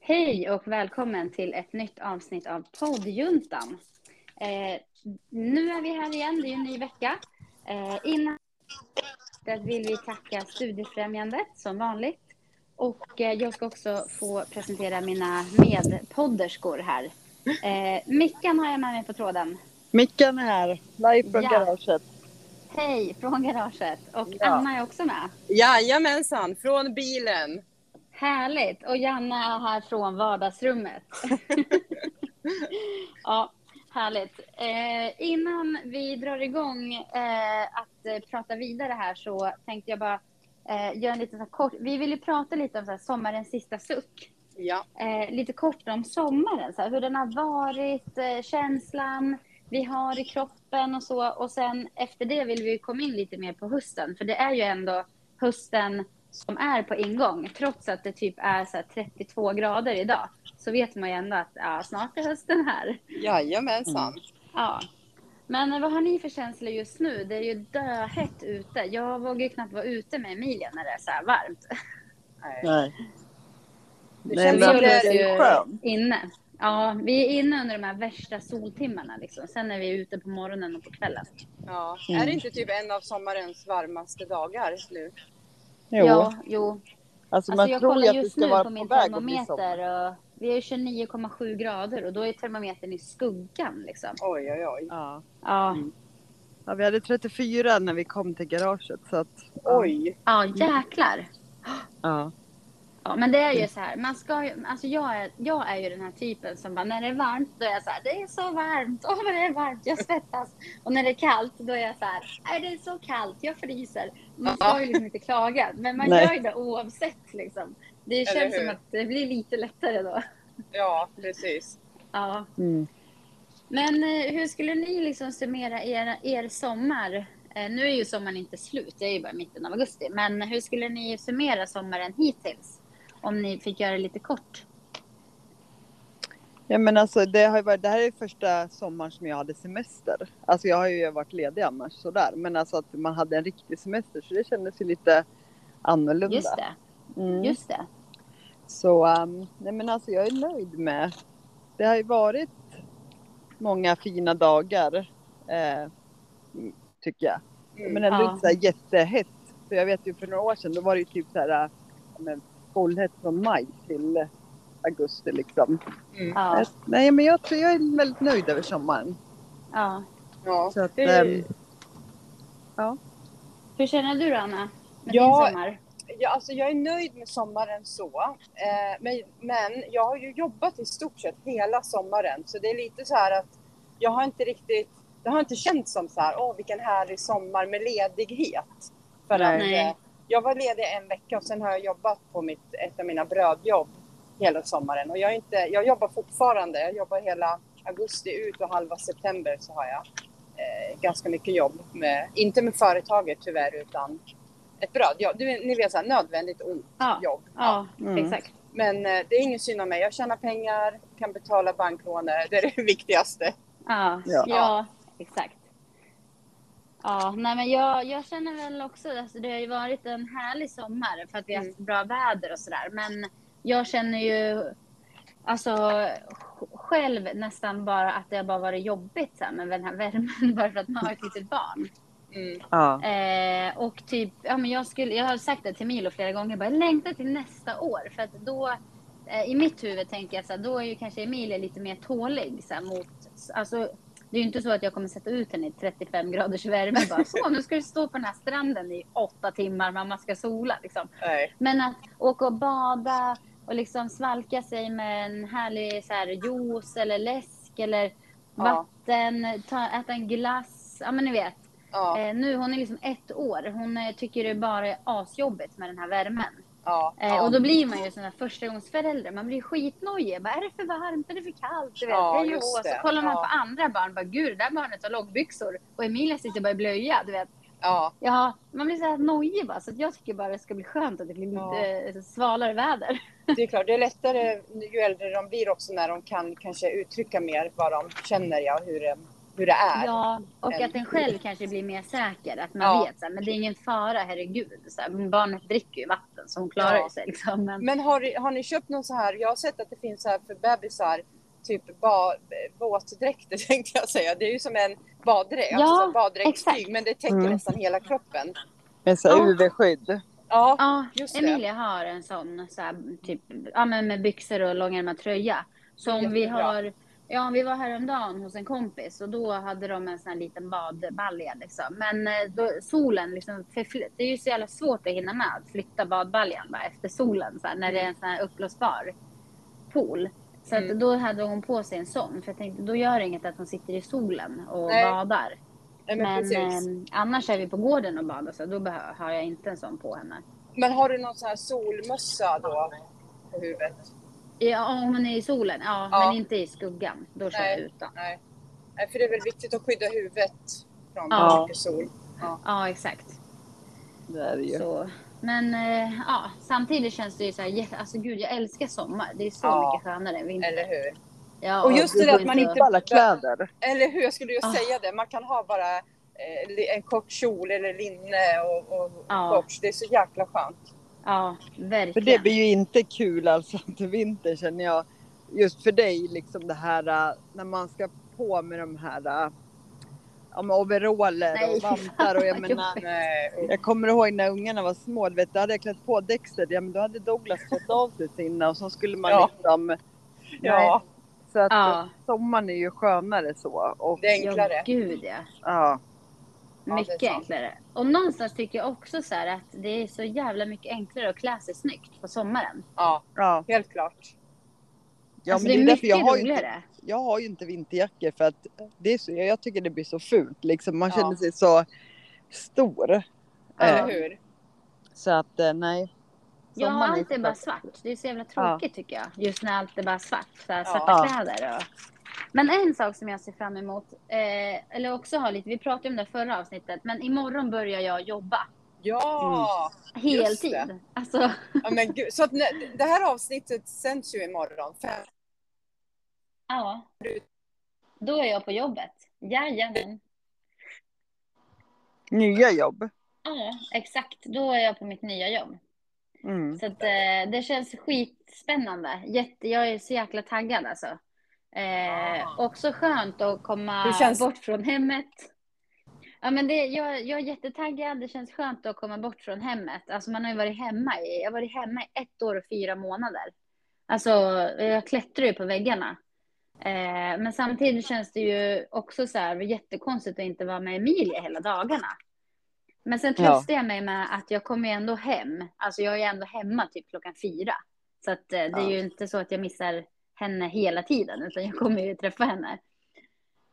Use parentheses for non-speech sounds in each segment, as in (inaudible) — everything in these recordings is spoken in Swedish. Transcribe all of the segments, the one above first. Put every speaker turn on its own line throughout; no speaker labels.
Hej och välkommen till ett nytt avsnitt av Poddjuntan. Eh, nu är vi här igen, det är ju en ny vecka. Eh, innan det vill vi tacka Studiefrämjandet som vanligt. Och eh, jag ska också få presentera mina medpodderskor här. Eh, Mickan har jag med mig på tråden.
Mickan är här, live från
Ja.
garaget.
Hej från garaget. Och
Ja.
Anna är också med.
Jajamensan, från bilen.
Härligt! Och Janna är här från vardagsrummet. ja, härligt. Eh, innan vi drar igång eh, att eh, prata vidare här så tänkte jag bara eh, göra en liten så här kort... Vi vill ju prata lite om så här, sommarens sista suck.
Ja.
Eh, lite kort om sommaren, så här, hur den har varit, eh, känslan vi har i kroppen och så. Och sen efter det vill vi ju komma in lite mer på hösten, för det är ju ändå hösten som är på ingång. Trots att det typ är så här 32 grader idag så vet man ju ändå att ja, snart är hösten här.
Jajamensan.
Ja. Men eh, vad har ni för känslor just nu? Det är ju döhett ute. Jag vågar ju knappt vara ute med Emilia när det är så här varmt.
Nej.
Nej.
Det
Nej,
känns
Men
men
som
vi
det
håller
det
ju
är skönt.
inne. Ja, vi är inne under de här värsta soltimmarna. Liksom. Sen är vi ute på morgonen och på kvällen.
Ja.
Mm.
Är det inte typ en av sommarens varmaste dagar nu?
Jo,
Ja, jo.
alltså
Alltså,
man
jag
tror ju
kollar
att det
just
ska
nu på
vara på
min
väg att bli sommar.
termometer. Och vi är ju 29,7 grader och då är termometern i skuggan. Liksom.
Oj, oj, oj.
Ja.
Ja.
Mm. Ja, vi hade 34 när vi kom till garaget så att,
Oj.
ja, jäklar.
ja.
Ja, men det är ju så här. Man ska ju, alltså jag, är, jag är ju den här typen som bara, när det är varmt, då är jag så här, det är så varmt, åh vad det är varmt, jag svettas. Och när det är kallt, då är jag så här, nej det är så kallt, jag fryser. Man ska ju liksom inte klaga, men man
Nej.
gör ju det oavsett liksom. Det
Eller
känns som
hur?
att det blir lite lättare då.
Ja, precis.
Ja.
Mm.
Men eh, hur skulle ni liksom summera er, er sommar? Eh, nu är ju sommaren inte slut, det är ju bara mitten av augusti. Men hur skulle ni summera sommaren hittills? Om ni fick göra det lite kort.
Ja, men alltså, det, har ju varit, det här är första sommaren som jag hade semester. Alltså, jag har ju varit ledig annars sådär. Men alltså att man hade en riktig semester så det kändes ju lite annorlunda.
Just det,
Mm.
just det.
Så ehm, nej men alltså jag är nöjd med. Det har ju varit många fina dagar. Eh, mm, tycker jag.
Mm.
Men ändå
Ja.
inte så här jättehett. För jag vet ju för några år sedan då var det ju typ så här. eh, Men, bollhett från maj till augusti liksom.
Mm.
Ja,
Eh, Nej men jag tror jag är väldigt nöjd över sommaren.
ja.
Ja.
Så att,
Det-
ehm,
Hur känner du då, Anna? Med
Ja.
din sommar?
Ja, alltså jag är nöjd med sommaren så. Eh, men, men jag har ju jobbat i stort sett hela sommaren. Så det är lite så här att jag har inte riktigt... Det har inte känts som så här, åh vilken härlig sommar med ledighet. För att,
Nej.
eh, jag var ledig en vecka och sen har jag jobbat på mitt, ett av mina brödjobb hela sommaren. Och jag, är inte, jag jobbar fortfarande. Jag jobbar hela augusti ut och halva september så har jag eh, ganska mycket jobb. Med, inte med företaget tyvärr utan ett bröd. Ja, du, ni vet så här, nödvändigt ont
Ja.
jobb.
Ja,
Mm.
exakt.
Men eh, det är ingen synd om mig. Jag tjänar pengar, kan betala banklåner. Det är det (laughs) viktigaste.
Ja, ja.
Ja.
exakt. Ja, nej men jag, jag känner väl också, alltså det har ju varit en härlig sommar för att vi har haft bra väder och sådär. Men jag känner ju alltså sj- själv nästan bara att det har bara varit jobbigt så här, med den här värmen (laughs) bara för att man har ett litet barn. Mm.
ja.
Eh, och typ, ja, men jag, skulle, jag har sagt det till Milo flera gånger, bara, jag längtar till nästa år. För att då, eh, i mitt huvud tänker jag så här, då är ju kanske Emilia lite mer tålig. Så här, mot, alltså, det är ju inte så att jag kommer sätta ut henne i 35 graders värme. Bara, så, nu ska du stå på den här stranden i åtta timmar, mamma ska sola. Liksom.
Nej.
Men att åka och bada och liksom svalka sig med en härlig så här, juice eller läsk eller
Ja.
vatten, ta, äta en glass. Ja, men ni vet.
Ja,
Eh, nu, hon är liksom ett år. Hon eh, tycker det bara är asjobbigt med den här värmen.
ja,
Eh,
ja.
Och då blir man ju sån här förstagångsförälder. Man blir skitnojig. Bara, är det för varmt? Är det för kallt? Du vet,
Ja,
hej och
just
hå. Så
det.
kollar man
Ja.
på andra barn. Bara, gud, det där barnet har långbyxor. Och Emilia sitter bara i blöja. Du vet.
ja.
Ja, man blir så här nojig bara. Så att jag tycker bara det ska bli skönt att det blir
Ja.
lite eh, svalare väder.
Det är klart, det är lättare ju äldre de blir också när de kan kanske uttrycka mer vad de känner ja, och hur, eh, hur det är.
Ja, och att en själv kanske blir mer säker. Att man
Ja.
vet så här, men det är ingen fara, herregud. Så här, barnet dricker ju vatten så hon klarar
Ja.
ju sig. Liksom. Men,
Men har, har ni köpt någon så här, jag har sett att det finns så här för bebisar, typ ba, våtdräkter (laughs) tänkte jag säga. Det är ju som en baddräkt,
Ja,
alltså baddräktstyg,
exakt.
men det täcker
Mm.
nästan hela kroppen.
Men så
Ja.
UV-skydd.
Ja,
ja,
just det.
Emilia har en sån, så här, typ, ja, men med byxor och långärmad tröja. Så om vi
Jättebra.
har Ja, om vi var häromdagen hos en kompis och då hade de en sån här liten badbalja liksom. Men eh, då, solen liksom, förfly- det är ju så jävla svårt att hinna med att flytta badbaljan bara efter solen så här, när det är en sån här uppblåsbar pool. Så att
Mm.
då hade hon på sig en sån för jag tänkte då gör det inget att hon sitter i solen och
Nej.
badar.
Nej, men,
Men
precis.
eh, annars är vi på gården och badar så då behö- har jag inte en sån på henne.
Men har du någon sån här solmössa då på huvudet?
Ja, om hon är i solen, ja,
Ja.
men inte i skuggan. Då kör jag
Nej.
utan.
Nej. Nej, för det är väl viktigt att skydda huvudet från
Ja.
mycket sol.
Ja, exakt.
Det är det ju.
Så. Men eh, ja, samtidigt känns det ju så här, jätte- alltså gud jag älskar sommar. Det är så
Ja.
mycket skönare än vinter.
Eller hur?
Ja,
Och just det
går
där att man
att-
Alla kläder.
Eller hur? Jag skulle ju
Ah.
säga det. Man kan ha bara eh, li- en kort kjol eller linne och, och
Ja.
shorts. Det är så jäkla skönt.
Ja,
För det
verkligen.
blir ju inte kul alltså (laughs) till vintern känner jag. Just för dig liksom det här äh, när man ska på med de här äh, ja, med overaller
Nej, (laughs) fy
och
fan,
vantar och jag
vad
menar.
jobbigt.
Nej,
(laughs)
och-
Jag kommer ihåg när ungarna var små, du vet, då hade jag klätt på Dexter, ja men då hade Douglas fått av sig sina och så skulle man
Ja.
liksom... Nej,
ja,
Så att
Ja.
sommaren är ju skönare så. Och,
det är enklare.
Ja, gud ja.
ja.
Ja, det är
Mycket
sant.
enklare. Och någonstans tycker jag också så här att det är så jävla mycket enklare att klä sig snyggt på sommaren.
Ja,
Ja,
helt klart.
ja
alltså,
men
det är,
därför
mycket
jag har ju inte,
roligare.
jag har ju inte vinterjackor för att det är så, jag tycker det blir så fult liksom. Man
Ja.
känner sig så stor.
Eller
Eh,
hur?
Så att eh, nej.
Ja,
Sommaren
allt är
ju
bara
skönt.
svart. Det är så jävla tråkigt tycker jag. Just när allt är bara svart. Så här, svarta
Ja.
kläder och... Men en sak som jag ser fram emot, eh, eller också har lite, vi pratade om det förra avsnittet, men imorgon börjar jag jobba
Ja!
Mm.
Just det.
heltid. Alltså,
ja men gud. Så att när, det här avsnittet sänds ju imorgon. Fem.
ja. Då är jag på jobbet. Jajamän.
Nya jobb.
Ja, exakt. Då är jag på mitt nya jobb.
Mm.
Så att, eh, det känns skitspännande. Jätte, jag är så jäkla taggad alltså. Eh, också skönt att komma
Hur känns-
bort från hemmet. Ja, men det, jag, jag är jättetaggad. Det känns skönt att komma bort från hemmet. Alltså, man har ju varit hemma i, jag har varit hemma i ett år och fyra månader. Alltså, jag klättrar ju på väggarna. Eh, men samtidigt känns det ju också så här jättekonstigt att inte vara med Emilia hela dagarna. Men sen
Ja.
tröstar jag mig med att jag kommer ju ändå hem. Alltså jag är ju ändå hemma typ klockan fyra. Så att eh, det är
Ja.
ju inte så att jag missar henne hela tiden, utan jag kommer ju träffa henne.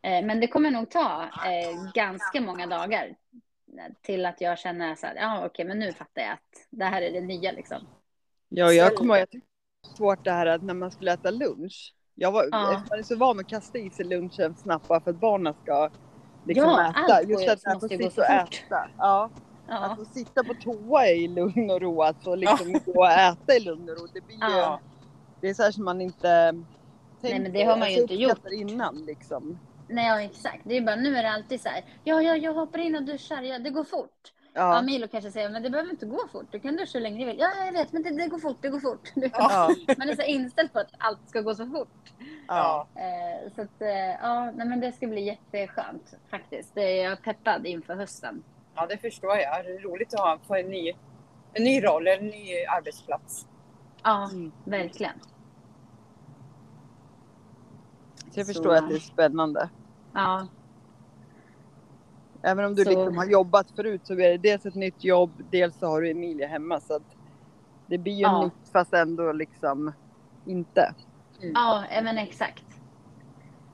Eh, men det kommer nog ta eh, ganska många dagar eh, till att jag känner så här, ja okej, men nu fattar jag att det här är det nya liksom.
Ja, jag
Sälj.
kommer ihåg, jag tyckte det var svårt det här att när man skulle äta lunch. Jag var,
Ja.
eftersom Man är så van med att kasta i sig lunchen snabbt bara för att barnen ska liksom
Ja,
äta.
allt går ju-
att man
måste
får
ju gå
sitta och
så fort.
äta. Ja,
Ja,
Att få Alltså, sitta på toa i lugn och ro, att få liksom gå och äta i lugn och ro. Det, blir ju,
Ja.
det är så här som man inte tänker,
men det har man ju
alltså
inte gjort.
uppskattar innan liksom.
nej ja, exakt. Det är ju bara, nu är det alltid så här, ja, ja, jag hoppar in och duschar, ja, det går fort. Ja.
Ja,
Milo kanske säger, men det behöver inte gå fort, du kan duscha hur länge du vill. Ja, jag vet, men det, det går fort, det går fort.
ja,
(laughs) Man är så inställd på att allt ska gå så fort.
ja.
Eh, så att, eh, ja, nej, men det ska bli jätteskönt faktiskt. Det är jag är peppad inför hösten.
Ja, det förstår jag. Det är roligt att ha på en ny, en ny roll, en ny arbetsplats.
Ja,
Mm.
verkligen.
Så jag
Så-
förstår att det är spännande.
Ja,
Även om du
Så-
liksom har jobbat förut så är det dels ett nytt jobb, dels så har du Emilia hemma. Så att det blir ju
Ja.
nytt fast ändå liksom inte.
ja eh, men exakt.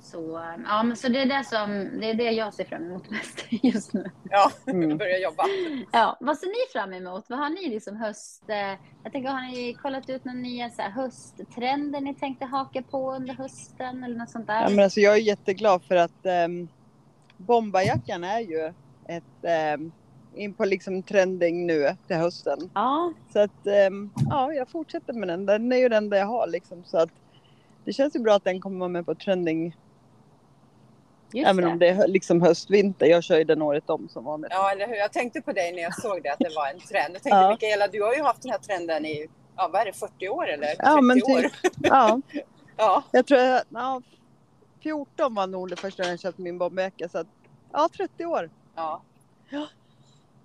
Så, eh, ja, men så det, är det, som, det är det jag ser fram emot mest (laughs) just nu.
Ja,
Mm.
börja jobba.
Ja, vad ser ni fram emot? Vad har ni liksom höst... Eh, jag tänker, har ni kollat ut några nya så här, hösttrender ni tänkte haka på under hösten eller något sånt där?
Ja, men alltså jag är jätteglad för att um, bombarjackan är ju ett, ehm, in på liksom trending nu till hösten.
ja,
Så att ehm, ja, jag fortsätter med den. Den är ju den där jag har liksom. Så att det känns ju bra att den kommer vara med på trending
Just
Även om det är hö- liksom höst-vinter. Jag kör ju den året om som vanligt.
Ja, eller hur? Jag tänkte på dig när jag såg det, att det var en trend. Jag tänkte,
Ja.
Mikaela, du har ju haft den här trenden i, ja, vad är det, 40 år eller 30
Ja, men
år?
typ. Ja,
Ja,
jag tror jag... Ja, 14 var nog det första gången jag köpte min bombmöka. Så att, ja, 30 år.
ja.
Ja.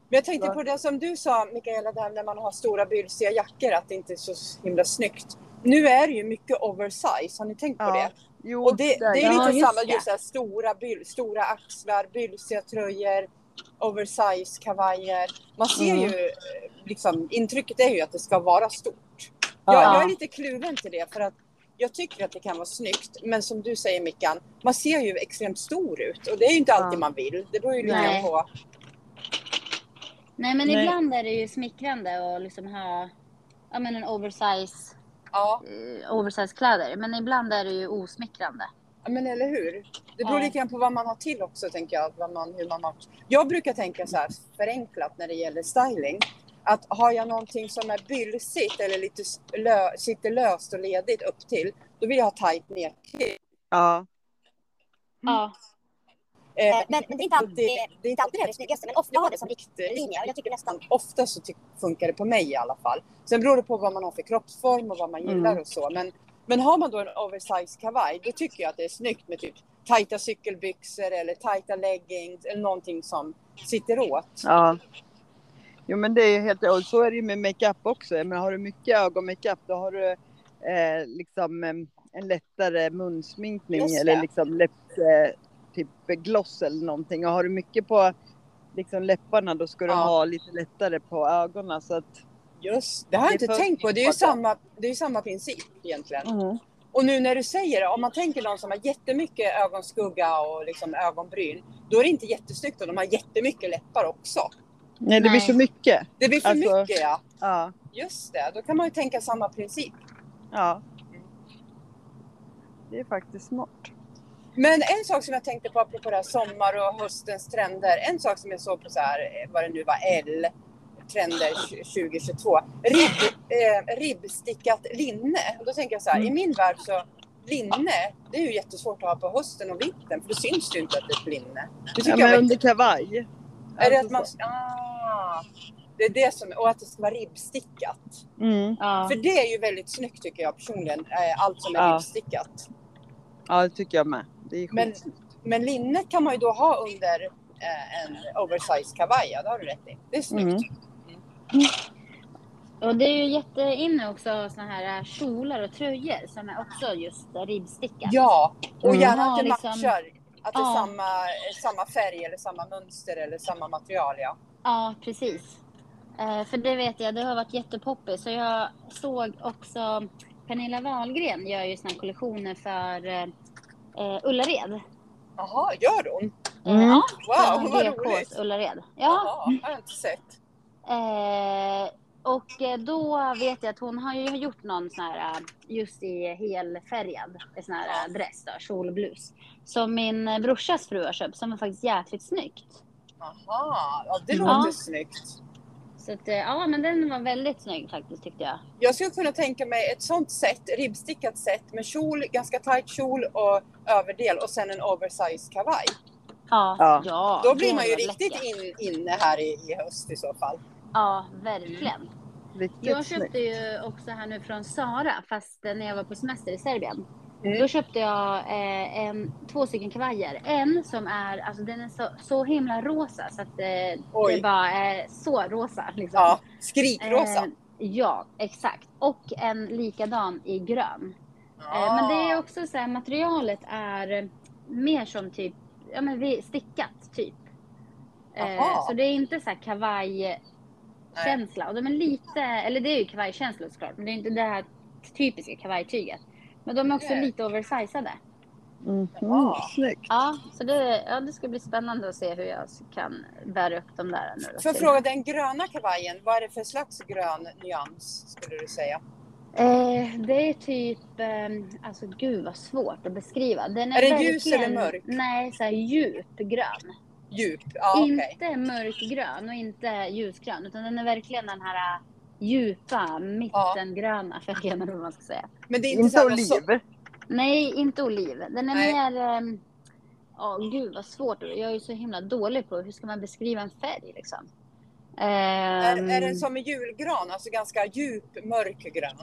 Men jag tänkte
Ja.
på det som du sa, Mikaela, där när man har stora bylsiga jackor, att det inte är så himla snyggt. Nu är det ju mycket oversize, har ni tänkt på
Ja.
det?
Jo,
Och det, det är
Ja,
lite
just
samma,
det.
just det här, stora, byl, stora axlar, bylsiga tröjor, oversize kavajer. Man ser
Mm.
ju, eh, liksom, intrycket är ju att det ska vara stort.
Ja.
Jag, jag är lite kluven till det för att jag tycker att det kan vara snyggt. Men som du säger Mickan, man ser ju extremt stor ut och det är ju inte alltid
Ja.
man vill. Det beror ju lite
Nej.
grann på.
Nej, men
Nej.
ibland är det ju smickrande att liksom ha ja, men en oversize,
Ja,
eh, oversize kläder. Men ibland är det ju osmickrande.
men eller hur? Det beror
Ja.
lite grann på vad man har till också tänker jag. Vad man, hur man har. Jag brukar tänka så här förenklat när det gäller styling. Att har jag någonting som är bylsigt eller lite s- lö, sitter löst och ledigt upp till, då vill jag ha tajt ner till.
Ja.
Ja,
Eh,
Eh, Men, men det är inte alltid det, är inte alltid det, här det snyggaste, men ofta har det som
riktlinje.
riktlinje. Och jag tycker nästan
nästan ofta så ty- funkar det på mig i alla fall. Sen beror det på vad man har för kroppsform och vad man gillar
Mm.
och så. Men, men har man då en oversized kavaj, då tycker jag att det är snyggt med typ tajta cykelbyxor eller tajta leggings eller någonting som sitter åt.
Ja. Jo men det är ju helt och så är det ju med makeup också. Men har du mycket ögonmakeup då har du eh, liksom eh, en lättare munsminkning
Just det.
eller liksom läpp, eh, typ gloss eller någonting. Och har du mycket på liksom läpparna då ska du
Ja.
ha lite lättare på ögonen så att.
Just det, har jag
Det
inte
är för-
tänkt på. Det är ju samma, det är ju samma princip egentligen.
Mm.
Och nu när du säger det, om man tänker någon som har jättemycket ögonskugga och liksom ögonbryn, då är det inte jättesnyggt om de har jättemycket läppar också.
Nej det blir
Nej.
så mycket.
Det blir för
Alltså-
mycket ja.
Ja.
Just det, då kan man ju tänka samma princip.
ja. Det är faktiskt smart.
Men en sak som jag tänkte på apropå det här sommar och höstens trender. En sak som jag såg på så här, eh, vad det nu var, L trender tj- 2022. Ribb, eh, ribbstickat linne. Och då tänker jag så här, i min värld så linne, det är ju jättesvårt att ha på hösten och vintern för då syns det ju inte att det är ett linne. Det
Ja,
tycker
men
jag
under
är,
kavaj.
är det
Alltså
att man...
så.
Ah, det är det som, och att det ska vara ribbstickat.
Mm.
ja.
För det är ju väldigt snyggt tycker jag personligen, eh, allt som är
Ja.
ribbstickat.
Ja det tycker jag med. Det är
Men-
skitsnyggt.
Men linnet kan man ju då ha under eh, en oversized kavaj. Ja, det har du rätt i. Det är snyggt.
Mm.
Och det är ju jätteinne också såna här eh, kjolar och tröjor som är också just ribbstickat.
Ja, och
Mm.
gärna att
Ja,
det
liksom-
matchar. Att det är
Ja.
samma, eh, samma färg eller samma mönster eller samma material. Ja.
Ja, precis. Eh, för det vet jag, det har varit jättepoppis. Så jag såg också Pernilla Wahlgren gör ju såna här kollektioner för eh, eh, Ullared.
Jaha, gör hon?
Mm.
Ja,
Wow,
från
Ah, vad
BKs
roligt!
Ullared. Ja.
Jaha, har jag inte sett.
Eh, och eh, då vet jag att hon har ju gjort någon sån här, eh, just i helfärgad eh, sån här eh, dress då, kjol och blus. Som min eh, brorsas fru har köpt, som var faktiskt jäkligt snyggt.
Jaha, ja, det
Ja.
låter snyggt.
Så att, eh, ja men den var väldigt snygg faktiskt tyckte jag.
Jag skulle kunna tänka mig ett sånt sätt, ribbstickat sätt med kjol, ganska tight kjol och överdel och sen en oversized kavaj.
Ja.
Ja.
Då blir
det
man ju
var
riktigt
läckert.
in, inne här i, i höst i så fall.
Ja, verkligen.
Riktigt
Jag
snyggt.
köpte ju också här nu från Sara, fast eh, när jag var på semester i Serbien.
Mm.
Då köpte jag eh, en, två stycken kavajer. En som är, alltså den är så, så himla rosa så att eh, det
Oj.
bara är så rosa. Liksom.
Ja, skrikrosa.
Eh, ja, exakt. Och en likadan i grön. Eh, men det är
Ah.
också så här, materialet är mer som typ, ja men vi- stickat typ. Eh,
Aha.
så det är inte så här kavaj
Nej.
känsla. Och de är lite, eller det är ju kavajkänsla såklart, men det är inte det här typiska kavajtyget. Men de är också
Nej.
lite oversizade.
Mhm,
Ja.
Snyggt.
Ja, så det, ja, det ska bli spännande att se hur jag kan bära upp dem där nu. då
Får jag
till-
fråga, den gröna kavajen, vad är det för slags grön nyans skulle du säga?
Eh, det är typ, eh, alltså gud vad svårt att beskriva. Den är,
Är den ljus
verkligen-
eller mörk?
Nej, så här djupgrön.
Djup? Ja, okej.
Inte mörkgrön och inte ljusgrön, utan den är verkligen den här eh, djupa mittengröna färgen eller vad man ska säga.
Men det är inte,
Inte
samma, so-
oliv.
Nej, inte oliv. Den är
Nej.
mer... ehm, Ja, gud vad svårt. Jag är ju så himla dålig på hur ska man beskriva en färg liksom. Ehm,
Är, är den som en julgran, alltså ganska djup mörkgrön?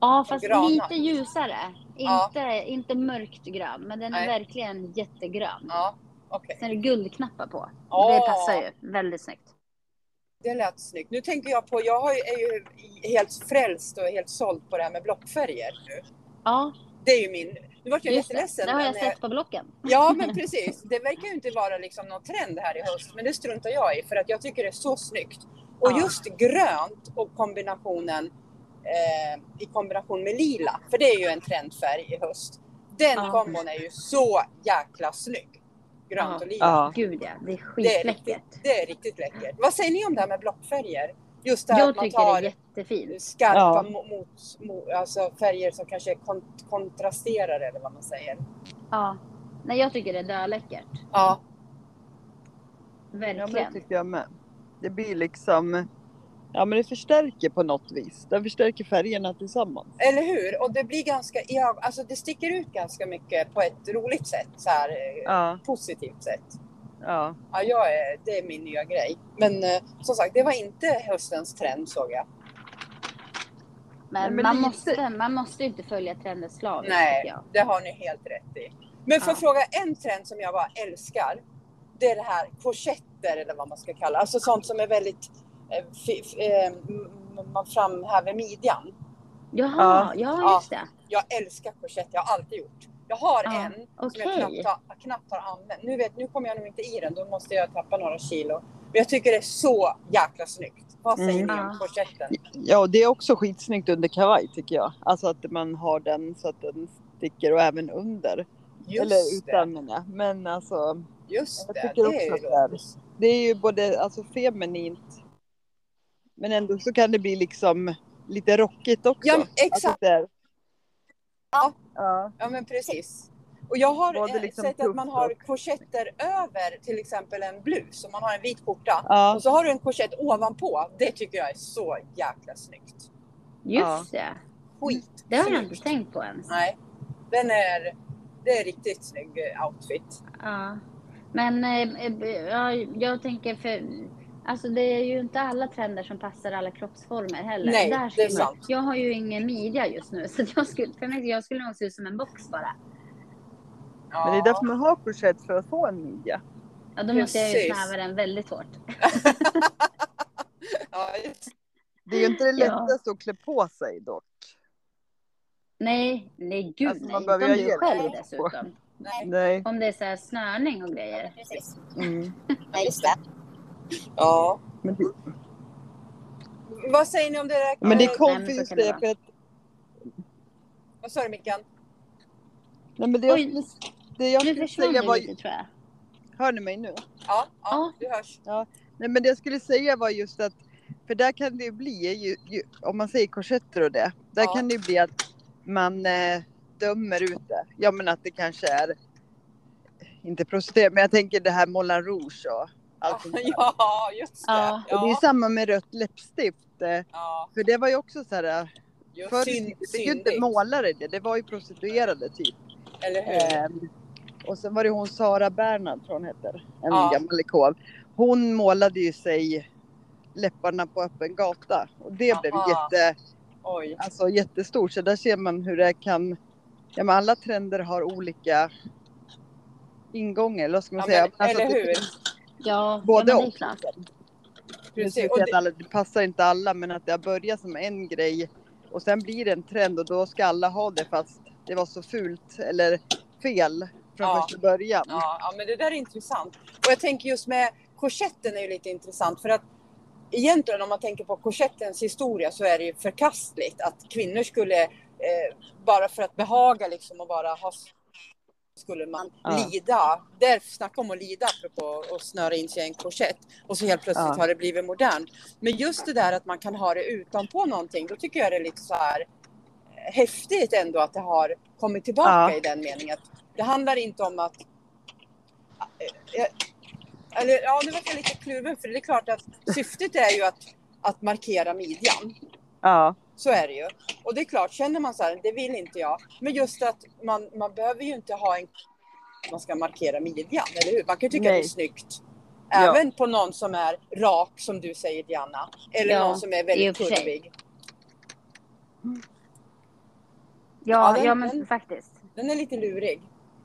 ja, fast
grana?
lite ljusare.
Ja.
Inte, inte mörkt grön, men den är
Nej.
verkligen jättegrön.
Ja, okej.
Sen är det guldknappar på. Det
Åh.
passar ju väldigt snyggt.
Det lät snyggt. Nu tänker jag på, jag har ju- är ju helt frälst och helt såld på det här med blockfärger. nu.
Ja,
Det är ju min... Nu vart jag
just det.
jätteledsen.
Det har jag
men, eh,
sett på Blocken.
Ja, men precis. Det verkar ju inte vara liksom någon trend här i höst, men det struntar jag i för att jag tycker det är så snyggt. Och
Ja.
just grönt och kombinationen eh, i kombination med lila, för det är ju en trendfärg i höst. Den
Ja.
kombon är ju så jäkla snygg. Grönt
Ja.
och lila.
Ja.
Gud ja, det är
Det är, riktigt,
skitläckert.
det är riktigt läckert. Vad säger ni om det här med blockfärger? Just det här att
Jag
man
tycker det är
tar
jättefint.
skarpa
Ja.
mo- mot, mot, alltså färger som kanske kont- kontrasterar eller vad man säger.
Ja. Nej, jag tycker det är döläckert.
Ja,
Ja, men det
Verkligen.
tycker jag med. Det blir liksom... Ja, men det förstärker på något vis. Den förstärker färgerna tillsammans.
Eller hur? Och det blir ganska, ja, alltså det sticker ut ganska mycket på ett roligt sätt, så här eh,
Ja,
positivt sätt.
ja.
Ja, jag är, det är min nya grej. Men eh, som sagt, det var inte höstens trend såg jag.
Nej,
Men,
men
man,
lite-
måste, man måste ju inte följa trender slaviskt
Nej.
tycker jag.
Det har ni helt rätt i. Men för
Ja.
att fråga en trend som jag bara älskar. Det är det här korsetter eller vad man ska kalla Alltså sånt som är väldigt, eh, fi- fi- eh, m- m- man framhäver midjan.
Jaha, ja,
Ja.
just det.
Jag älskar korsett, jag har alltid gjort. Jag har
Ja,
en som jag
okej.
knappt har, knappt har använt. Nu, vet, nu kommer jag nog inte i den, då måste jag tappa några kilo. Men jag tycker det är så jäkla snyggt. Vad säger
Mm.
ni
Ja.
om korsetten?
Ja, och det är också skitsnyggt under kavaj tycker jag. Alltså att man har den så att den sticker och även under.
Just
Eller
det,
utan menar jag. Men alltså,
just
jag
det.
tycker
Det
också
är
att
ju
det är, det är ju både alltså, feminint men ändå så kan det bli liksom lite rockigt också.
Ja, men
Alltså,
exakt.
det är,
Ja.
ja.
Ja, men precis. Och jag har
Både
eh,
liksom
sett att man
tufft
har
och-
korsetter över till exempel en blus. Om man har en vit skjorta
Ja.
och så har du en korsett ovanpå. Det tycker jag är så jäkla snyggt.
Just det.
Mm.
Skit.
Det har jag inte tänkt på ens.
Nej, den är, det är riktigt snygg eh, outfit.
Ja. Men eh, eh, ja, jag tänker för... Alltså det är ju inte alla trender som passar alla kroppsformer heller.
Nej,
Där
det är
skulle-
sant.
Jag har ju ingen midja just nu så jag skulle, för mig, jag skulle nog se ut som en box bara.
Ja.
Men det är därför man har korsett för att få en midja.
Ja, då måste jag ju
Precis.
snäva den väldigt hårt.
Ja, just
Det är ju inte det
Ja.
lättaste att klä på sig dock.
Nej, nej gud
Alltså,
nej.
man
Inte om
behöver
du
ju
är
hjälp.
själv dessutom.
Nej.
Nej.
Om det är så här snörning och grejer.
Precis.
Mm.
Nej, just det.
Ja.
Men, det,
Vad säger ni om det där?
men det
Nej,
är
men så
konstigt
kan
just
det
det
vara.
för att
Vad sa du Mickan?
Nej, men det jag
Oj.
skulle, det jag
Nu
skulle
försvann
säga
det
var...
lite tror jag.
Hör ni mig nu?
Ja, ja,
Ja.
du hörs.
Nej, men det jag skulle säga var just att, för där kan det ju bli, ju, ju, om man säger korsetter och det, där
Ja.
kan det ju bli att man eh, dömer ut det. Ja men att det kanske är, inte prostituerad, men jag tänker det här Moulin Rouge och allt sånt där.
(laughs) Ja, just det.
Ja.
Och det är
Ja,
samma med rött läppstift, eh,
ja. för
för det var ju också så här, eh,
just
förr
syn-
det är ju inte
syndigt,
målare det, det var ju prostituerade typ.
Eller hur?
Ehm, och sen var det hon Sara Bernhard tror hon heter, en
Ja.
gammal ikon. Hon målade ju sig läpparna på öppen gata och det blev
Aha.
jätte,
Oj.
alltså, jättestort. Så där ser man hur det kan, ja men alla trender har olika ingångar eller vad ska man
Ja,
säga?
men,
alltså,
eller
det
hur?
finns
Ja,
Både
ja, men det är
och.
klart.
Nu
Precis.
ska jag
Och
säga
det-
att alla, det passar inte alla men att det har börjat som en grej och sen blir det en trend och då ska alla ha det fast det var så fult eller fel från
Ja.
första början.
Ja, ja, men det där är intressant. Och jag tänker just med korsetten är ju lite intressant för att egentligen om man tänker på korsettens historia så är det ju förkastligt att kvinnor skulle eh, bara för att behaga liksom och bara ha skulle man
Ja.
lida. Där snackar om att lida apropå att snöra in sig i en korsett och så helt plötsligt
Ja.
har det blivit modernt. Men just det där att man kan ha det utanpå någonting, då tycker jag det är lite så här eh, häftigt ändå att det har kommit tillbaka
Ja.
i den meningen. att Det handlar inte om att eh, eller ja, nu vart jag lite kluven för det är klart att syftet är ju att, att markera midjan.
Ja.
Så är det ju. Och det är klart, känner man så här, det vill inte jag. Men just att man, man behöver ju inte ha en att man ska markera midjan, eller hur? Man kan ju tycka
Nej.
att det är snyggt.
Ja.
Även på någon som är rak, som du säger Diana, eller
Ja,
någon som är
i och
väldigt
för sig.
kurvig. Ja,
Ja,
den-
ja men
den-
faktiskt.
Den är lite lurig.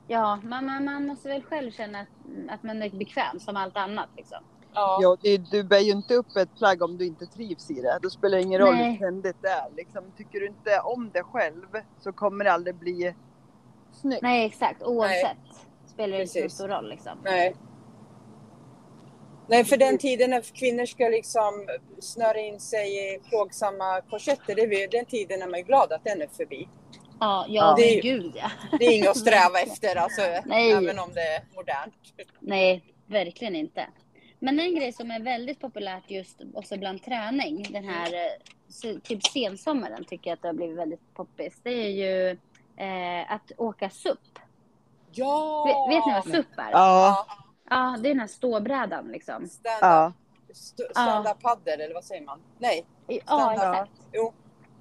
Ja, man, man, man måste väl själv känna att, att man är bekväm som allt annat. Liksom.
Ja.
Ja, det, du bär ju inte upp ett plagg om du inte trivs i det. Då spelar det ingen roll
Nej.
hur trendigt det är. Liksom, tycker du inte om det själv så kommer det aldrig bli snyggt.
Nej, exakt. Oavsett spelar det inte så
Precis.
stor roll. Liksom.
Nej. Nej, för den tiden när kvinnor ska liksom snöra in sig i plågsamma korsetter, det är vi- den tiden är man ju glad att den är förbi.
Ja,
Ja.
ja, men
Det är-
gud ja.
Det är inget
(laughs)
att sträva efter, alltså,
Nej.
även om det är modernt.
Nej, verkligen inte. Men en grej som är väldigt populärt just också bland träning, den här eh, se- typ sensommaren tycker jag att det har blivit väldigt poppis. Det är ju eh, att åka SUP.
Ja!
Vet, vet ni vad SUP är? Ja.
Ja,
det är den här ståbrädan liksom.
Stand-up
ja.
st- stand-up paddel, eller vad säger man? Nej,
Ja,
Stand-up.
exakt.
Jo.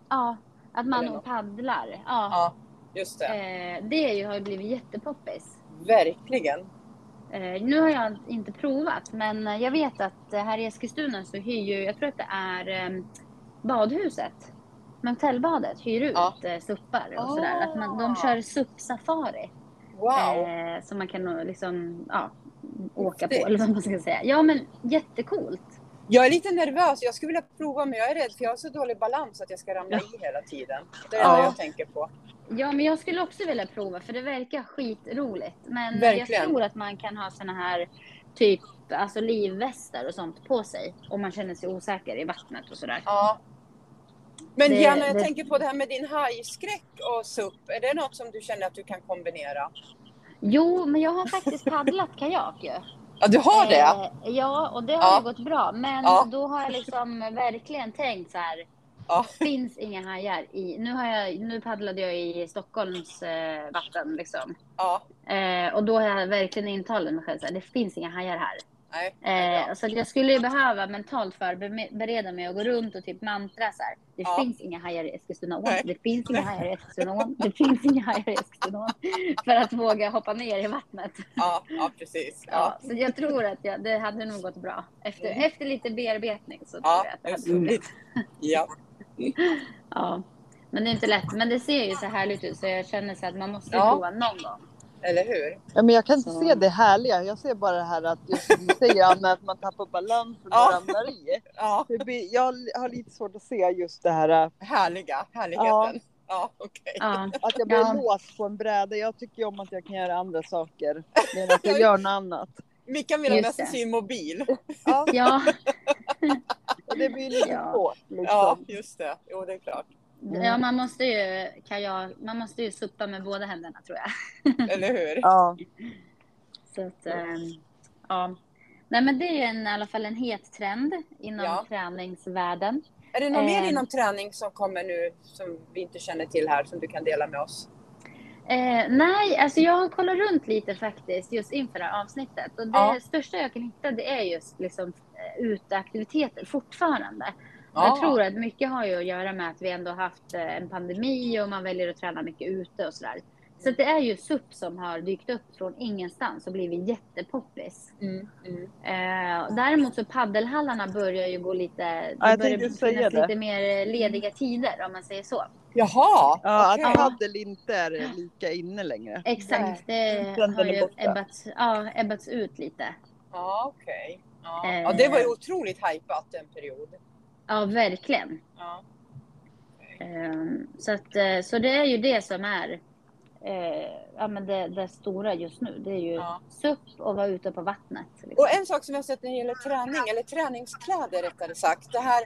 Ja, att
Eller
man
något.
paddlar. Ja.
ja, just det.
Eh, det är ju, har ju blivit jättepoppis.
Verkligen.
Eh, nu har jag inte provat, men jag vet att eh, här i Eskilstuna så hyr ju, jag tror att det är eh, badhuset, Mantellbadet, hyr ut
Ja.
eh, suppar och
Ah.
sådär. Att man, de kör suppsafari
Wow!
eh, som man kan eh, liksom, ja, åka på
Häftigt.
eller vad man ska säga. Ja men jättecoolt.
Jag är lite nervös. Jag skulle vilja prova, men jag är rädd för jag har så dålig balans att jag ska ramla i hela tiden. Det är
Ja.
det jag tänker på.
Ja men jag skulle också vilja prova för det verkar skitroligt. Men
Verkligen.
jag tror att man kan ha såna här typ alltså livvästar och sånt på sig om man känner sig osäker i vattnet och sådär.
Ja. Men
Det-
Diana, jag
det-
tänker på det här med din hajskräck och SUP. Är det något som du känner att du kan kombinera?
Jo, men jag har faktiskt paddlat kajak ju.
Ja, du (laughs) har det?
Eh, Ja, och det har
Ja.
ju gått bra. Men
Ja.
då har jag liksom verkligen tänkt så här.
Ja.
Finns inga hajar i... Nu, har jag, nu paddlade jag i Stockholms eh, vatten liksom.
Ja.
Eh, och då har jag verkligen intalat mig själv så här, det finns inga hajar här.
Nej.
Eh, så att jag skulle ju behöva mentalt förbereda mig och gå runt och typ mantra så här. Det
Ja.
finns inga hajar i Eskilstunaån.
Nej.
Det finns inga hajar i Eskilstunaån. Det finns inga hajar i Eskilstunaån. (laughs) För att våga hoppa ner i vattnet.
Ja, ja precis.
Ja,
Ja.
så jag tror att jag, det hade nog gått bra. Efter,
Mm.
efter lite bearbetning så tror jag
Ja,
Mm. att det
just
hade gått
det.
bra.
Ja.
Ja. Men det är inte lätt. Men det ser ju så härligt ut så jag känner så att man måste
Ja.
prova någon gång.
Eller hur?
ja, men jag kan inte
Så.
se det härliga. Jag ser bara det här att just som du säger Anna, att man tappar balansen och
Ja.
ramlar i.
Ja,
Det blir, jag har lite svårt att se just det här äh,
härliga. Härligheten. Ja, okej.
Ja,
att jag blir
Ja.
låst på en bräda. Jag tycker ju om att jag kan göra andra saker medan jag gör något annat.
Mickan vill ha
Just
med sig
det.
sin mobil.
Ja,
ja,
och det blir lite
Ja.
svårt liksom.
Ja, just det. Jo, det är klart.
Mm.
ja man måste ju kan jag, man måste ju suppa med båda händerna tror jag.
Eller hur?
Ja.
Så att, ehm, ja. Nej men det är ju en, i alla fall en het trend inom
Ja.
träningsvärlden.
Är det något mer
Ehm.
inom träning som kommer nu som vi inte känner till här som du kan dela med oss?
Eh, nej, alltså jag har kollat runt lite faktiskt just inför det här avsnittet. Och det
Ja.
största jag kan hitta det är just liksom, eh, uteaktiviteter fortfarande. Jag tror att mycket har ju att göra med att vi ändå har haft eh, en pandemi och man väljer att träna mycket ute och sådär. Så att det är ju SUP som har dykt upp från ingenstans och blivit jättepoppis.
Mm, mm.
Eh, däremot så paddelhallarna börjar ju gå lite... Det
Ja, jag
börjar
tänkte
finnas
säga det.
lite mer eh, lediga tider om man säger så.
Jaha!
Ja,
okej.
att paddel inte är lika inne längre.
Exakt, det
Den
har
är
ju
borta.
ebbats, ja, ebbats ut lite.
Ja, okej. Ja.
Eh.
ja, det var ju otroligt hajpat en period.
Ja, verkligen.
Ja.
Ehm, Så, att, eh, så det är ju det som är eh, ja, men det, det stora just nu. Det är ju
Ja.
SUP och vara ute på vattnet. Liksom.
Och en sak som jag har sett när det gäller träning, eller träningskläder rättare sagt, det här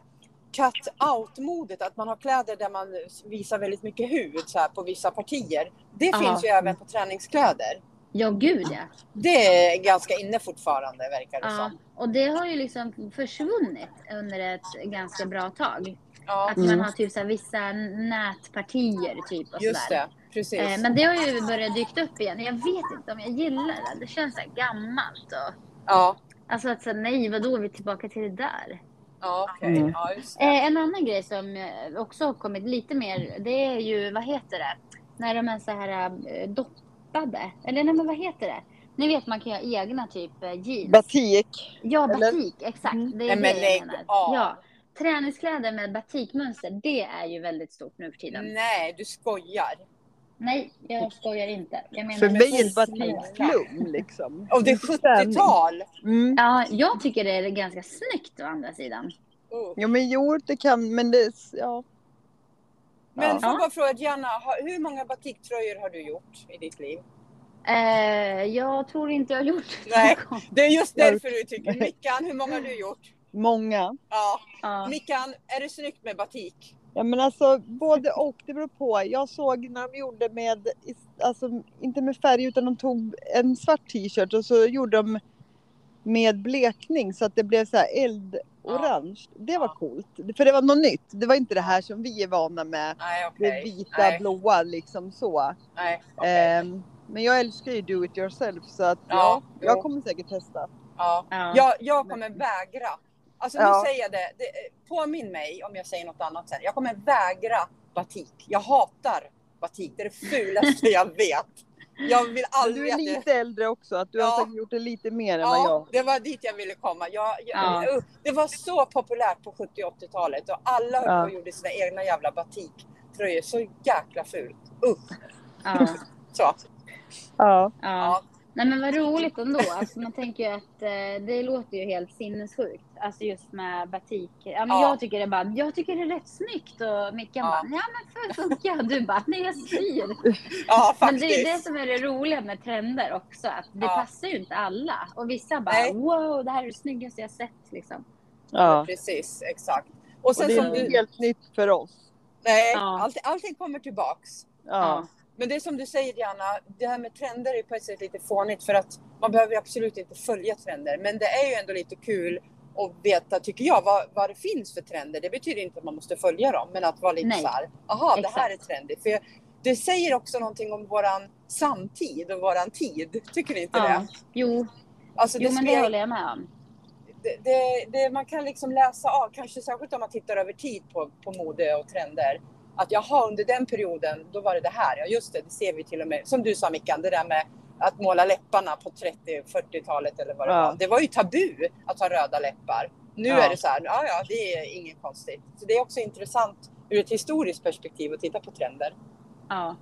cut out-modet, att man har kläder där man visar väldigt mycket hud så här, på vissa partier. Det
Ja.
finns ju även på träningskläder.
Ja, gud ja.
Det är ganska inne fortfarande verkar det
ja.
som.
Och det har ju liksom försvunnit under ett ganska bra tag.
Ja,
Att man har typ så här vissa nätpartier typ och
just
sådär.
det. Precis.
Eh, Men det har ju börjat dykt upp igen. Jag vet inte om jag gillar det. Det känns så här gammalt. Och...
Ja,
Alltså att så, här, nej, vadå, vi är tillbaka till det där.
ja okej.
Mm.
Ja, just det.
Eh, en annan grej som eh, också har kommit lite mer, det är ju, vad heter det, när de är så här eh, dopp, stickade. Eller nej, men vad heter det? Ni vet man kan göra egna typ eh, jeans.
Batik.
ja,
eller?
batik, exakt.
Mm.
Det är
Nej,
det
men
jag
lägg
menar.
av.
Ja, träningskläder med batikmönster, det är ju väldigt stort nu för tiden.
Nej, du skojar.
Nej, jag skojar inte. Jag menar
För
med
mig är det
snälla.
batikslum liksom.
Och det är 70-tal!
Mm.
Ja, jag tycker det är ganska snyggt å andra sidan.
Uh.
Ja men jo det kan, men det, ja.
Men
Ja.
får jag bara fråga Diana, har- hur många batiktröjor har du gjort i ditt liv?
Eh, jag tror inte jag har gjort
Nej.
någon.
Det är just
Jag har
därför du tycker. Mickan, hur många har du gjort?
Många.
Ja.
Ja.
Mickan, är det snyggt med batik?
Ja men alltså både och, det beror på. Jag såg när de gjorde med, alltså inte med färg utan de tog en svart t-shirt och så gjorde de med blekning så att det blev så här eldorange. Det var
Ja.
coolt. För det var något nytt. Det var inte det här som vi är vana med.
Nej,
Det
okej.
vita,
Nej,
blåa liksom så.
nej, okej.
Ehm, men jag älskar ju do it yourself så att
Ja,
ja,
jo.
jag kommer säkert testa.
ja.
Ja.
jag, jag kommer vägra. Alltså nu
Ja.
säger jag det. det. Påminn mig om jag säger något annat sen. Jag kommer vägra batik. Jag hatar batik. Det är det fulaste (laughs) jag vet. Jag vill aldrig
Du är
att det-
lite äldre också, att du
Ja.
har säkert gjort det lite mer än vad
Ja,
jag.
det var dit jag ville komma. Jag, jag,
Ja.
uh, Det var så populärt på 70 och 80-talet och alla höll
Ja.
på och gjorde sina egna jävla batiktröjor. Så jäkla fult. Usch!
Ja,
Så.
Ja.
ja. Nej men vad roligt ändå. Alltså, man tänker ju att eh, det låter ju helt sinnessjukt. Alltså just med batik. Ja, men
Ja.
Jag tycker det är bara, jag tycker det är rätt snyggt och Mickan
Ja.
bara, ja men för funkar. Och Du bara, nej jag syr.
Ja,
Men
faktiskt.
det är det som är det roliga med trender också. Att det
Ja.
passar ju inte alla. Och vissa bara,
Nej.
wow det här är det snyggaste jag sett liksom.
ja.
Precis, exakt. Och sen
Och det
som
är
du...
helt nytt för oss.
Nej,
Ja.
allt, allting kommer tillbaks.
Ja.
Men det är som du säger Diana, det här med trender är på ett sätt lite fånigt för att man behöver ju absolut inte följa trender. Men det är ju ändå lite kul att veta, tycker jag, vad, vad det finns för trender. Det betyder inte att man måste följa dem, men att vara lite
Nej.
så här, aha, det här är
Exakt.
trendigt. För jag, det säger också någonting om våran samtid och våran tid. Tycker ni inte
ja.
det?
Jo,
Alltså,
jo men det
spelar-
håller jag med om.
det, det, det, man kan liksom läsa av, kanske särskilt om man tittar över tid på, på mode och trender. Att jaha, under den perioden, då var det det här. Ja, just det, det ser vi till och med. Som du sa Mickan, det där med att måla läpparna på 30-40-talet eller vad det
Ja.
var. Det var ju tabu att ha röda läppar. Nu
Ja.
är det så här, ja, ja, det är inget konstigt. Så det är också intressant ur ett historiskt perspektiv att titta på trender.
Ja.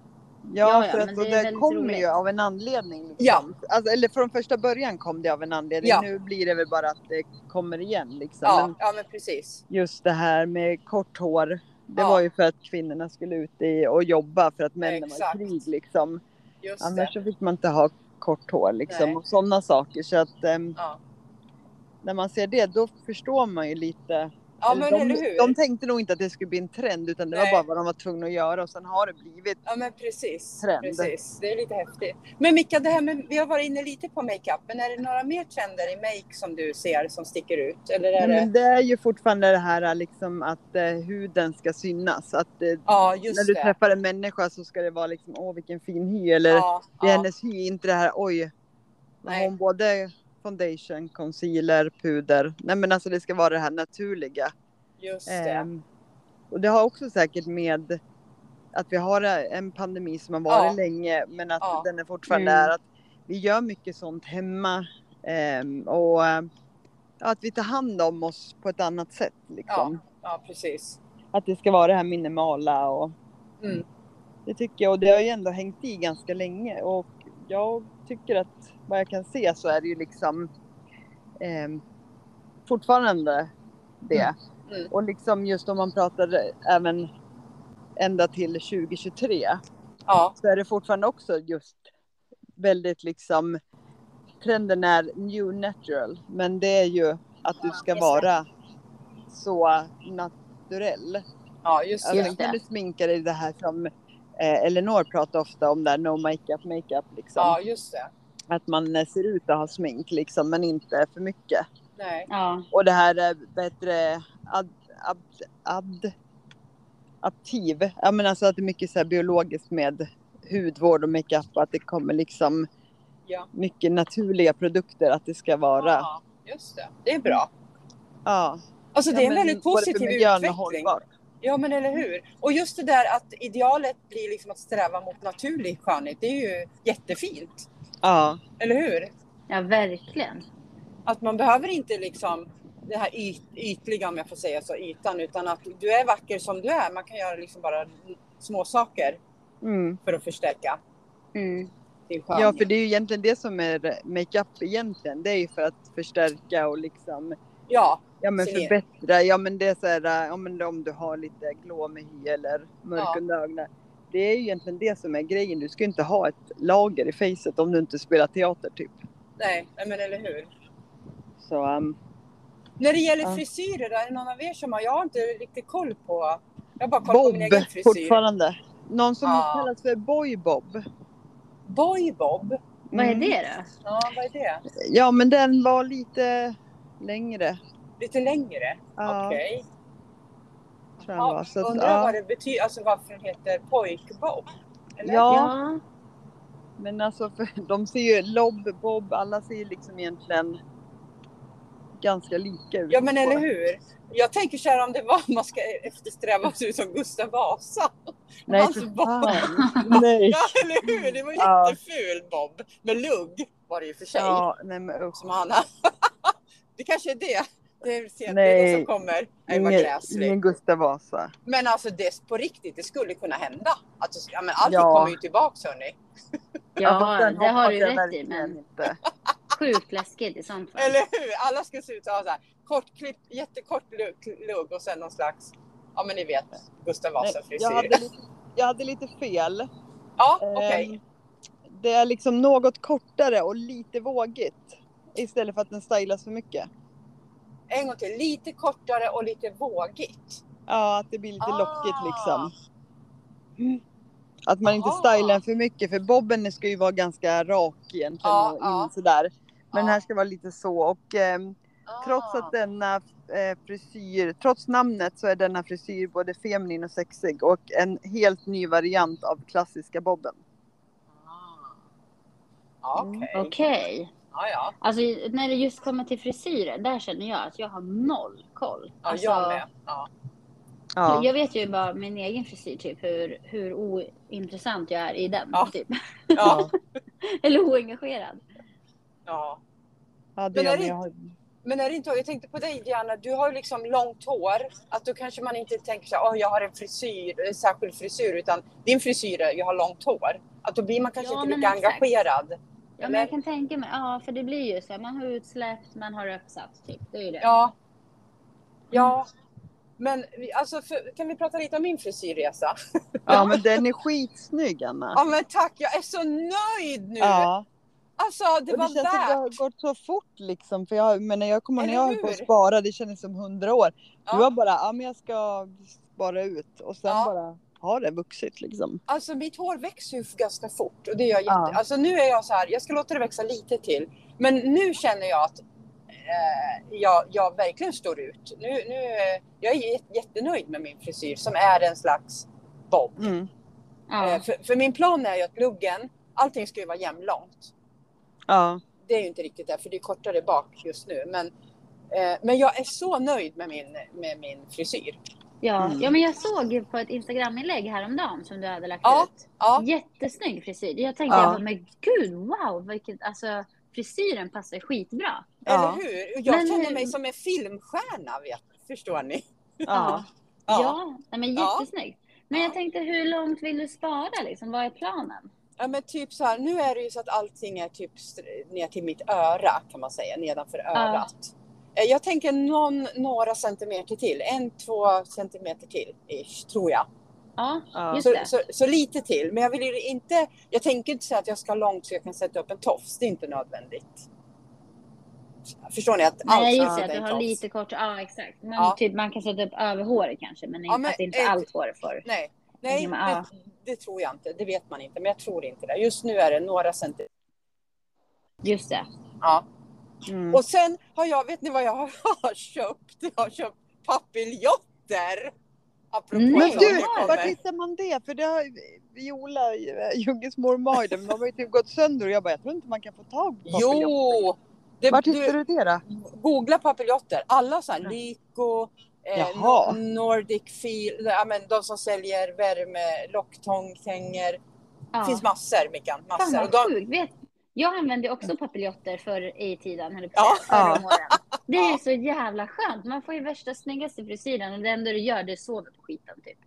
Ja,
Ja, ja,
för
men
att
det
och
är
det
väldigt
kommer
roligt.
ju av en anledning. Liksom.
Ja.
Alltså, eller från första början kom det av en anledning.
Ja.
Nu blir det väl bara att det kommer igen. Liksom.
Ja,
Men
ja men precis.
just det här med kort hår. Det
Ja.
var ju för att kvinnorna skulle ut i och jobba för att männen
Exakt.
var i krig. Liksom.
Just
Annars
det.
så fick man inte ha kort hår liksom,
Nej.
och sådana saker. Så att ehm,
Ja.
när man ser det då förstår man ju lite.
ja, men
de,
eller hur?
de tänkte nog inte att det skulle bli en trend utan det
Nej.
var bara vad de var tvungna att göra och sen har det blivit.
Ja men precis.
Trend.
precis. Det är lite häftigt. Men Mika, det här med, vi har varit inne lite på makeup, men är det några mer trender i make som du ser som sticker ut? Eller är
Nej,
det...
men det är ju fortfarande det här liksom att eh, huden ska synas. Att eh,
Ja,
när
just
du
det.
träffar en människa så ska det vara liksom åh vilken fin hy eller
Ja,
det är
ja,
hennes hy, inte det här oj. Har
Nej.
Hon både foundation, concealer, puder. Nej men alltså det ska vara det här naturliga.
just det.
Ehm, och det har också säkert med att vi har en pandemi som har varit
Ja.
länge men att
Ja.
den är fortfarande
Mm.
är att vi gör mycket sånt hemma ehm, och eh, ja, att vi tar hand om oss på ett annat sätt. Liksom.
Ja, precis.
Att det ska vara det här minimala och
Mm.
det tycker jag och det har ju ändå hängt i ganska länge och jag tycker att vad jag kan se så är det ju liksom ehm, fortfarande det.
Mm.
Och liksom just om man pratar även ända till 2023
Ja,
så är det fortfarande också just väldigt liksom trenden är new natural men det är ju att du ska
just det.
vara så naturell.
ja just
Alltså,
det.
Just
sen kan
det.
du sminka dig det här som eh, Elinor pratar ofta om där, no makeup, makeup liksom.
Ja, just det.
Att man eh, ser ut att ha smink liksom, men inte för mycket.
Nej.
Ja.
Och det här eh, är bättre ad, ab, ad, aptiv. Ja, men alltså att det är mycket så här biologiskt med hudvård och makeup och att det kommer liksom
Ja.
mycket naturliga produkter att det ska vara. Ja.
Ja, just det. Det är bra.
ja.
Alltså det är en
men
väldigt
både för
positiv
miljön och
utveckling.
hållbart.
Ja, men eller hur? Och just det där att idealet blir liksom att sträva mot naturlig skönhet, det är ju jättefint.
Ja.
Eller hur?
Ja, verkligen.
Att man behöver inte liksom det här yt, ytliga, om jag får säga så, ytan, utan att du är vacker som du är. Man kan göra liksom bara små saker
Mm.
för att förstärka
Mm.
din skönhet.
Ja, för det är ju egentligen det som är makeup egentligen. Det är ju för att förstärka och liksom
ja,
ja, men
Se.
förbättra. Ja, men det är så här, ja, men om du har lite glåmig hy eller mörk
Ja.
under ögonen. Det är ju egentligen det som är grejen. Du ska ju inte ha ett lager i facet om du inte spelar teater typ.
nej, nej, men eller hur?
Så ehm,
När det gäller
Ja.
frisyrer, är det någon av er som har, jag har inte riktigt koll på, jag har bara kollat på
Bob
min egen frisyr.
fortfarande. Någon som
Ja.
kallas för Boy Bob.
Boy Bob,
Vad är
Mm.
det då?
ja vad är det?
Ja, men den var lite längre.
Lite längre?
Ja,
Okej.
tror jag den
Ja,
var. Så att,
undrar vad
ja.
det betyder, alltså varför den heter pojkbob? Eller?
Ja. Men alltså, för, de ser ju Lob, Bob, alla ser ju liksom egentligen ganska lika ut.
ja, men eller hur? Jag tänker så här om det var man ska eftersträva att se ut som Gustav Vasa.
Nej,
Hans
för
bob. (laughs)
fan. Nej.
Ja, eller hur? Det var
Ja.
jätteful Bob. Med lugg var det ju för sig.
Ja, nej men usch.
Som han har. (laughs) det kanske är det. Det är, det, är det
Nej.
som kommer. Nej, vad
Ingen,
gräslig.
ingen Gustav Vasa.
Men alltså det på riktigt, det skulle kunna hända. Alltså, ja, men allt
Ja.
kommer ju tillbaks hörni.
fast
Ja,
Alltså, den
det har
hoppas
du ju
jag
rätt i,
verkligen
men
Inte.
sjukt läskigt i sånt fall.
Eller hur? Alla ska se ut att ha så här kortklippt, jättekort lugg- lugg och sen någon slags, ja men ni vet, Gustav
Nej,
Vasa-frisyr.
Jag, hade lite, jag hade lite fel.
Ja,
Ehm,
okej.
Det är liksom något kortare och lite vågigt. Istället för att den stylas för mycket.
En gång till. Lite kortare och lite vågigt.
Ja, att det blir lite
Ah.
lockigt liksom. Att man inte
Aha.
stylar för mycket för bobben ska ju vara ganska rak egentligen
Ja,
och in
ja.
sådär. Men den
Ja.
här ska vara lite så och ehm,
Ah.
trots
Ah.
att denna eh, frisyr, trots namnet så är denna frisyr både feminin och sexig och en helt ny variant av klassiska bobben.
Ah. Ja, Ah, Okej.
Mm, Okej.
Ja, ja.
Alltså när det just kommer till frisyrer, där känner jag att jag har noll koll.
ja
Alltså, (laughs)
jag med. Ja.
Ja.
Jag vet ju bara min egen frisyr, typ hur, hur ointressant jag är i den.
Ja.
Typ. (laughs)
Ja.
Eller oengagerad.
ja.
Ja,
Men
det
är
jag
det
med. Jag har-
Men är det inte, jag tänkte på dig Diana, du har ju liksom långt hår. Att då kanske man inte tänker så här, "Åh, jag har en frisyr, en särskild frisyr, utan din frisyr är, jag har långt hår. Att då blir man kanske
Ja,
inte
men
lika
exakt.
engagerad.
Ja, men
Eller?
jag kan tänka mig, ja för det blir ju så. här, Man har utsläppt, man har uppsatt. Typ. Det är ju det.
Ja. Ja. Men vi- alltså, för, kan vi prata lite om min frisyrresa?
ja, men den är skitsnygg Anna.
Ja men tack, jag är så nöjd nu!
Ja.
Alltså det
och
var
det känns att det har
värt!
gått så fort liksom. För jag, men när jag kommer ihåg när
Eller
jag höll på att
hur?
spara, det kändes som hundra år.
Ja.
Du var bara, ja men jag ska spara ut och sen
Ja.
bara har det vuxit liksom.
Alltså mitt hår växer ju ganska fort och det gör jätte...
Ja.
Alltså nu är jag så här, jag ska låta det växa lite till. Men nu känner jag att eh, jag, jag verkligen står ut. Nu, nu, eh, jag är jät- jättenöjd med min frisyr som är en slags bob.
Mm.
Ja.
Eh, för, för min plan är ju att luggen, allting ska ju vara jämnlångt.
Ja.
Det är ju inte riktigt där för det är kortare bak just nu. Men, eh, men jag är så nöjd med min, med min frisyr.
Ja.
Mm.
ja, men jag såg ju på ett Instagram-inlägg häromdagen som du hade lagt
Ja.
ut.
Ja,
Jättesnygg frisyr. Jag tänkte,
Ja.
jag bara, men gud wow, vilket, alltså frisyren passar skitbra.
Ja.
eller hur? Och Jag
Men
känner
hur-
mig som en filmstjärna, vet, förstår ni?
Ja.
Alltså, Ja, nej, men
Ja.
jättesnyggt. Men jag tänkte, hur långt vill du spara? Liksom? Vad är planen?
Ja men typ så här, nu är det ju så att allting är typ str- ner till mitt öra kan man säga, nedanför örat. Eh, Jag tänker någon, några centimeter till, en, två centimeter till ish, tror jag.
Ja,
Ja.
Just
Så,
det.
så, så lite till, men jag vill ju inte, jag tänker inte säga att jag ska ha långt så jag kan sätta upp en tofs, det är inte nödvändigt. Förstår ni att allt
nej
ska
just det,
sätta
att du
en
har
tofs.
lite kort. Ja, exakt. Man,
Ja.
typ, man kan sätta upp över håret kanske, men,
Ja,
inte-
men
att inte
ett-
allt hår får.
Nej, nej
Ja, men, ja.
det, det tror jag inte, det vet man inte, men jag tror inte det. Just nu är det några centimeter.
Just det.
Ja.
Mm.
Och sen har jag, vet ni vad jag har (laughs) köpt? Jag har köpt papiljotter! Apropå
Nej.
Mm. Men
sånt
du,
jag kommer.
var hittar man det? För det har ju- Viola, eh, Ljunges mormor, har ju det, men de har ju typ gått sönder och jag bara, jag tror inte man kan få tag på papiljotter.
Jo! Det,
Vart
du,
hittade du det då?
Googla papiljotter. Alla så här, lyko, Eh,
Jaha.
Nor- Nordic Feel, ja, men de som säljer värme, locktångtänger. Det
Ja.
finns massor Mickan,
Fan
massor. Och
vad
de,
sjukt. Vet, jag använde också papiljotter förr i tiden, höll jag på
Ja.
att säga, förr om åren. Det är
Ja.
så jävla skönt. Man får ju värsta snyggaste frisyren och det enda du gör det är att sova på skiten typ.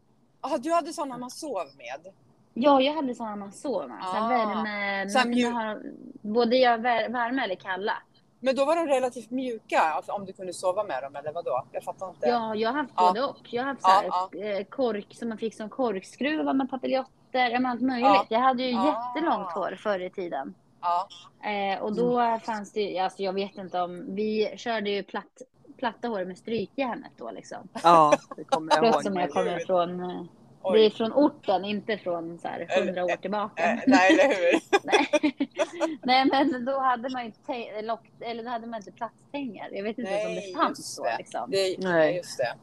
ah, du hade sådana man sov med.
Ja, jag hade sådana man sov med. Så
Ah.
värme,
Så
man kunde
mjuk-
ha, både göra vär- värme eller kalla.
Men då var de relativt mjuka, alltså, om du kunde sova med dem eller vadå? Jag fattar inte.
Ja, jag har haft
Ja.
både och. Jag har haft så
Ja,
här, eh, kork som man fick som korkskruvar med papiljotter. Ja, men allt möjligt.
Ja.
Jag hade ju
Ah.
jättelångt hår förr i tiden.
Ja.
Eh, och då
Mm.
fanns det ju- alltså jag vet inte om, vi körde ju platt, platta hår med strykjärnet då liksom.
Ja, (laughs) det kommer jag
Låter som
ihåg.
jag kommer från, eh,
Oj.
det är från orten, inte från så här
Eller-
hundra år tillbaka.
Eh, nej, eller hur?
Nej. (laughs) Nej men då hade man ju inte te- lock, eller då hade man inte plattstänger. Jag vet inte ens om
Nej,
det fanns
just
då liksom.
Det,
Nej.
Just det.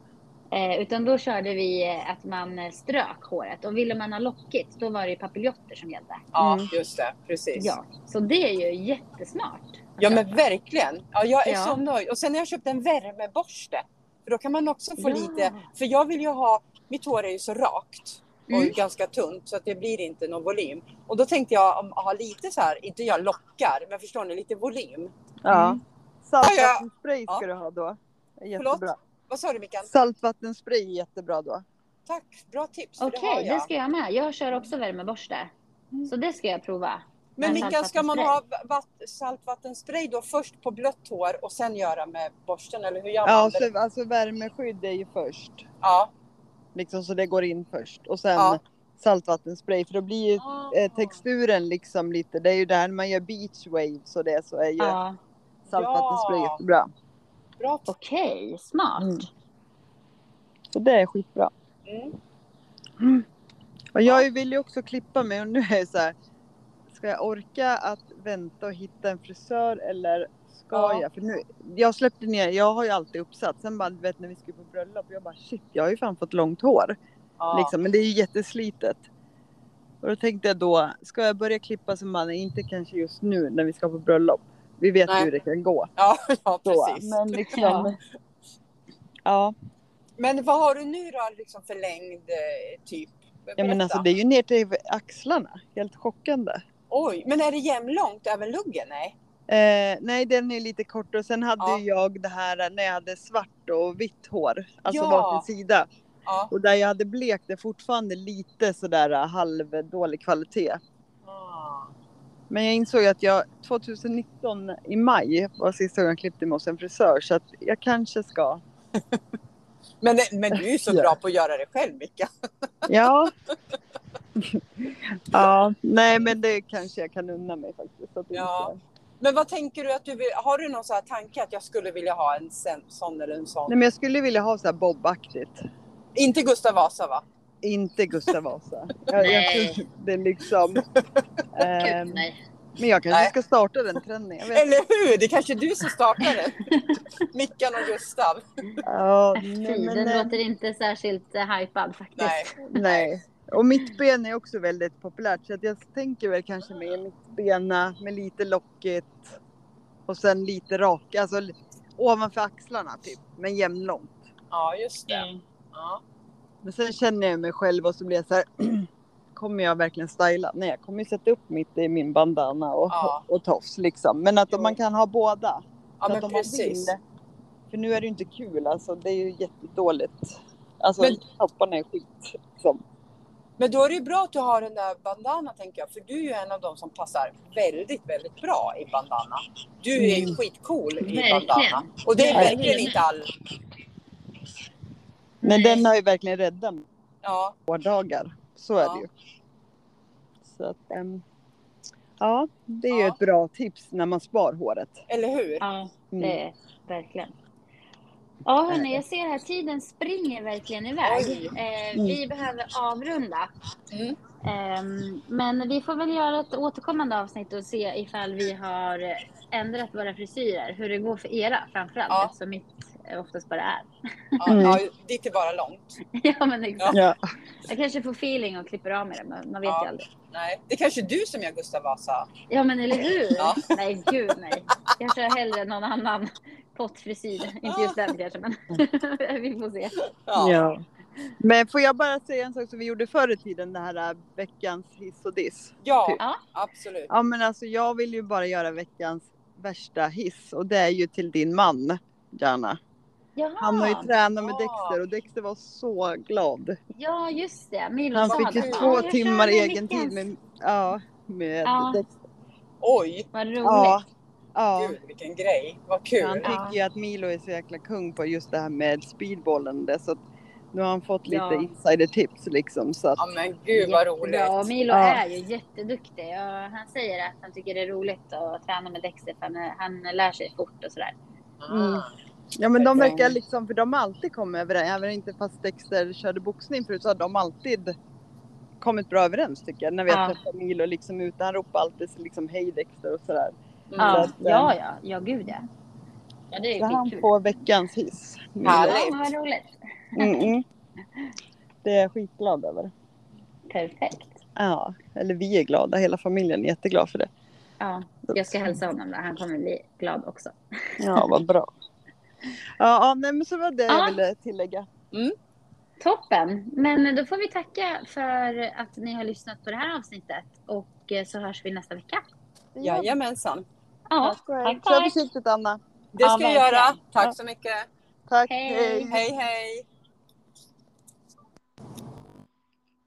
Eh, utan då körde vi eh, att man eh, strök håret och ville man ha lockigt då var det ju papiljotter som gällde.
Ja,
Mm.
just det. Precis.
Ja, så det är ju jättesmart. Alltså,
Ja men verkligen. Ja, jag är
Ja.
så nöjd. Och sen har jag köpt en värmeborste. För då kan man också få
Ja.
lite, för jag vill ju ha, mitt hår är ju så rakt och
Mm.
ganska tunt så att det blir inte någon volym. Och då tänkte jag om ha lite så här, inte jag lockar, men förstår ni, lite volym.
Ja. Saltvattenspray
Mm. Ja.
ska du ha då.
Förlåt?
Jättebra.
Vad sa du Mikael?
Saltvattenspray är jättebra då.
Tack, bra Mm. tips. för
Okej,
det har
det
jag.
ska jag med. Jag kör också värmeborste. Så det ska jag prova. med
Men Mikael, ska man
saltvattenspray.
ha vatt, saltvattenspray då först på blött hår och sen göra med borsten eller hur gör man?
Ja,
det?
så, alltså värmeskydd är ju först.
ja.
Liksom så det går in först. Och sen
Ja.
saltvattenspray. För då blir ju eh, texturen liksom lite. Det är ju där man gör beach waves och det så är ju
Ja,
saltvattenspray
Ja.
jättebra.
Bra tips.
okej, smart.
Mm. Så det är skitbra.
Mm.
Och jag vill ju också klippa mig och nu är jag så här. Ska jag orka att vänta och hitta en frisör eller ska
Ja.
jag? För nu, jag släppte ner, jag har ju alltid uppsatt. Sen bara, du vet när vi skulle på bröllop, jag bara shit, jag har ju fan fått långt hår.
Ja.
Liksom, men det är ju jätteslitet. Och då tänkte jag då, ska jag börja klippa som man, inte kanske just nu när vi ska på bröllop. Vi vet ju
Nej.
hur det kan gå.
Ja, ja
Då.
precis.
Men liksom,
Ja.
ja. ja.
Men vad har du nu då, liksom förlängd eh, typ? Berätta.
men alltså det är ju ner till axlarna. Helt chockande.
Oj, men är det jämnlångt över luggen? Nej.
Eh, nej, den är lite kort och sen hade
Ja.
ju jag det här när jag hade svart och vitt hår, alltså
Ja.
varsin sida.
Ja.
Och där jag hade blekt är fortfarande lite sådär eh, halvdålig kvalitet.
Ah.
Men jag insåg att jag 2019 i maj var sista gången jag klippte mig hos en frisör så att jag kanske ska.
Men, eh, men du är ju så
Ja.
bra på att göra det själv, Mika.
(laughs)
Ja. ja, nej men det kanske jag kan unna mig faktiskt. Att
Ja.
inte-
Men vad tänker du att du vill? Har du någon så här tanke att jag skulle vilja ha en sen- sån eller en sån?
Nej, men jag skulle vilja ha så här bobbaktigt.
Inte Gustav Vasa, va?
Inte Gustav Vasa. Jag, jag
Nej.
tror det
(laughs)
är liksom... ehm,
Gud, nej.
men jag kanske
Nej.
ska starta den trenden. Jag vet.
Eller hur? Det är kanske är du som startar den. (laughs) Mickan och Gustav.
Ja,
Fy,
nej, men,
den
eh,
låter inte särskilt eh, hypad faktiskt.
Nej.
nej. Och mitt ben är också väldigt populärt så att jag tänker väl kanske med mitt bena med lite lockigt och sen lite rak, alltså li- ovanför axlarna typ, men jämnlångt.
Ja, just det.
Mm.
Ja.
Men sen känner jag mig själv och så blir jag så här, (clears throat) kommer jag verkligen styla? Nej, jag kommer ju sätta upp mitt i min bandana och,
Ja.
och tofs liksom. Men att
Jo.
om man kan ha båda.
Ja,
så att
men
om man vill,
precis.
för nu är det ju inte kul alltså, det är ju jättedåligt. Alltså
Men-
topparna är skit. Liksom.
Men då är det ju bra att du har den där bandana tänker jag, för du är ju en av dem som passar väldigt, väldigt bra i bandana. Du är ju
Mm.
skitcool i
Verkligen.
bandana. Och det är
Verkligen.
verkligen inte alla.
Men
Nej.
den har ju verkligen räddat mig
Ja,
på dagar. Så är
Ja.
det ju. Så att, ehm, ja, det är ju
Ja.
ett bra tips när man spar håret.
eller hur?
Ja,
Mm.
det är Eh, verkligen. Ja, hörni, jag ser här tiden springer verkligen iväg.
Oj.
Eh, vi behöver avrunda.
Mm.
Ehm, men vi får väl göra ett återkommande avsnitt och se ifall vi har ändrat våra frisyrer. Hur det går för era framförallt,
Ja.
eftersom mitt eh, oftast bara är. (laughs)
Ja,
Mm.
ja, dit är bara långt.
ja, men exakt.
Ja.
Jag kanske får feeling och klipper av med det, men man vet
Ja.
ju aldrig.
Nej, det är kanske är du som gör Gustav Vasa.
Ja, men eller hur?
Ja.
Nej, gud nej. Kanske hellre någon annan pottfrisyr. Inte just den kanske, men (laughs) vi får se.
Ja.
Men får jag bara säga en sak som vi gjorde förr i tiden, det här äh, veckans hiss och diss.
Ja,
Ja.
absolut.
Ja men alltså jag vill ju bara göra veckans värsta hiss och det är ju till din man, Jana.
Jaha.
Han har ju tränat med
Ja.
Dexter och Dexter var så glad.
Ja, just det. Milla
Han
sa
fick
det.
ju
det.
Ja,
två
jag
timmar
körde
egen tid
veckans.
med, ja, med
Ja.
Dexter.
Oj,
Vad roligt.
Ja. Ja.
gud vilken grej. Vad
Han
kul.
Ja.
tycker ju att Milo är så jäkla kung på just det här med speedbollen. Det, så att nu har han fått lite
Ja.
insidertips liksom. Så att,
Ja men gud vad roligt.
Jättebra. Och Milo
Ja.
är ju jätteduktig. Och han säger att han tycker det är roligt att träna med Dexter för han, han lär sig fort och sådär.
Mm.
Ah.
ja men de
Mm.
verkar
verkligen.
liksom, för de har alltid kommit överens. Även inte fast Dexter körde boxning förut så har de alltid kommit bra överens tycker jag. När vi har
Ja.
träffat Milo liksom ute, han ropar alltid så liksom hej Dexter och sådär.
Ja,
att, eh,
ja, ja, ja, gud ja. Ja, det är
Så han
skitkul.
får veckans hiss. Milo.
Härligt.
Ja, men vad roligt.
Mm, mm. Det är jag skitglad över.
Perfekt.
Ja, eller vi är glada, hela familjen är jätteglad för det.
Ja, jag ska hälsa honom då. Han kommer bli glad också.
Ja, vad bra. (laughs) Ja, ja nej, men så var det
Ja.
jag ville tillägga.
Toppen! Men då får vi tacka för att ni har lyssnat på det här avsnittet och eh, så hörs vi nästa vecka.
Jajamensan.
Ja,
Tack och hej.
tack,
Kör
tack.
försiktigt Anna.
Det ska
Ja,
jag göra.
verkligen.
Ja.
Tack så mycket.
Tack.
Hej.
hej.
Hej hej.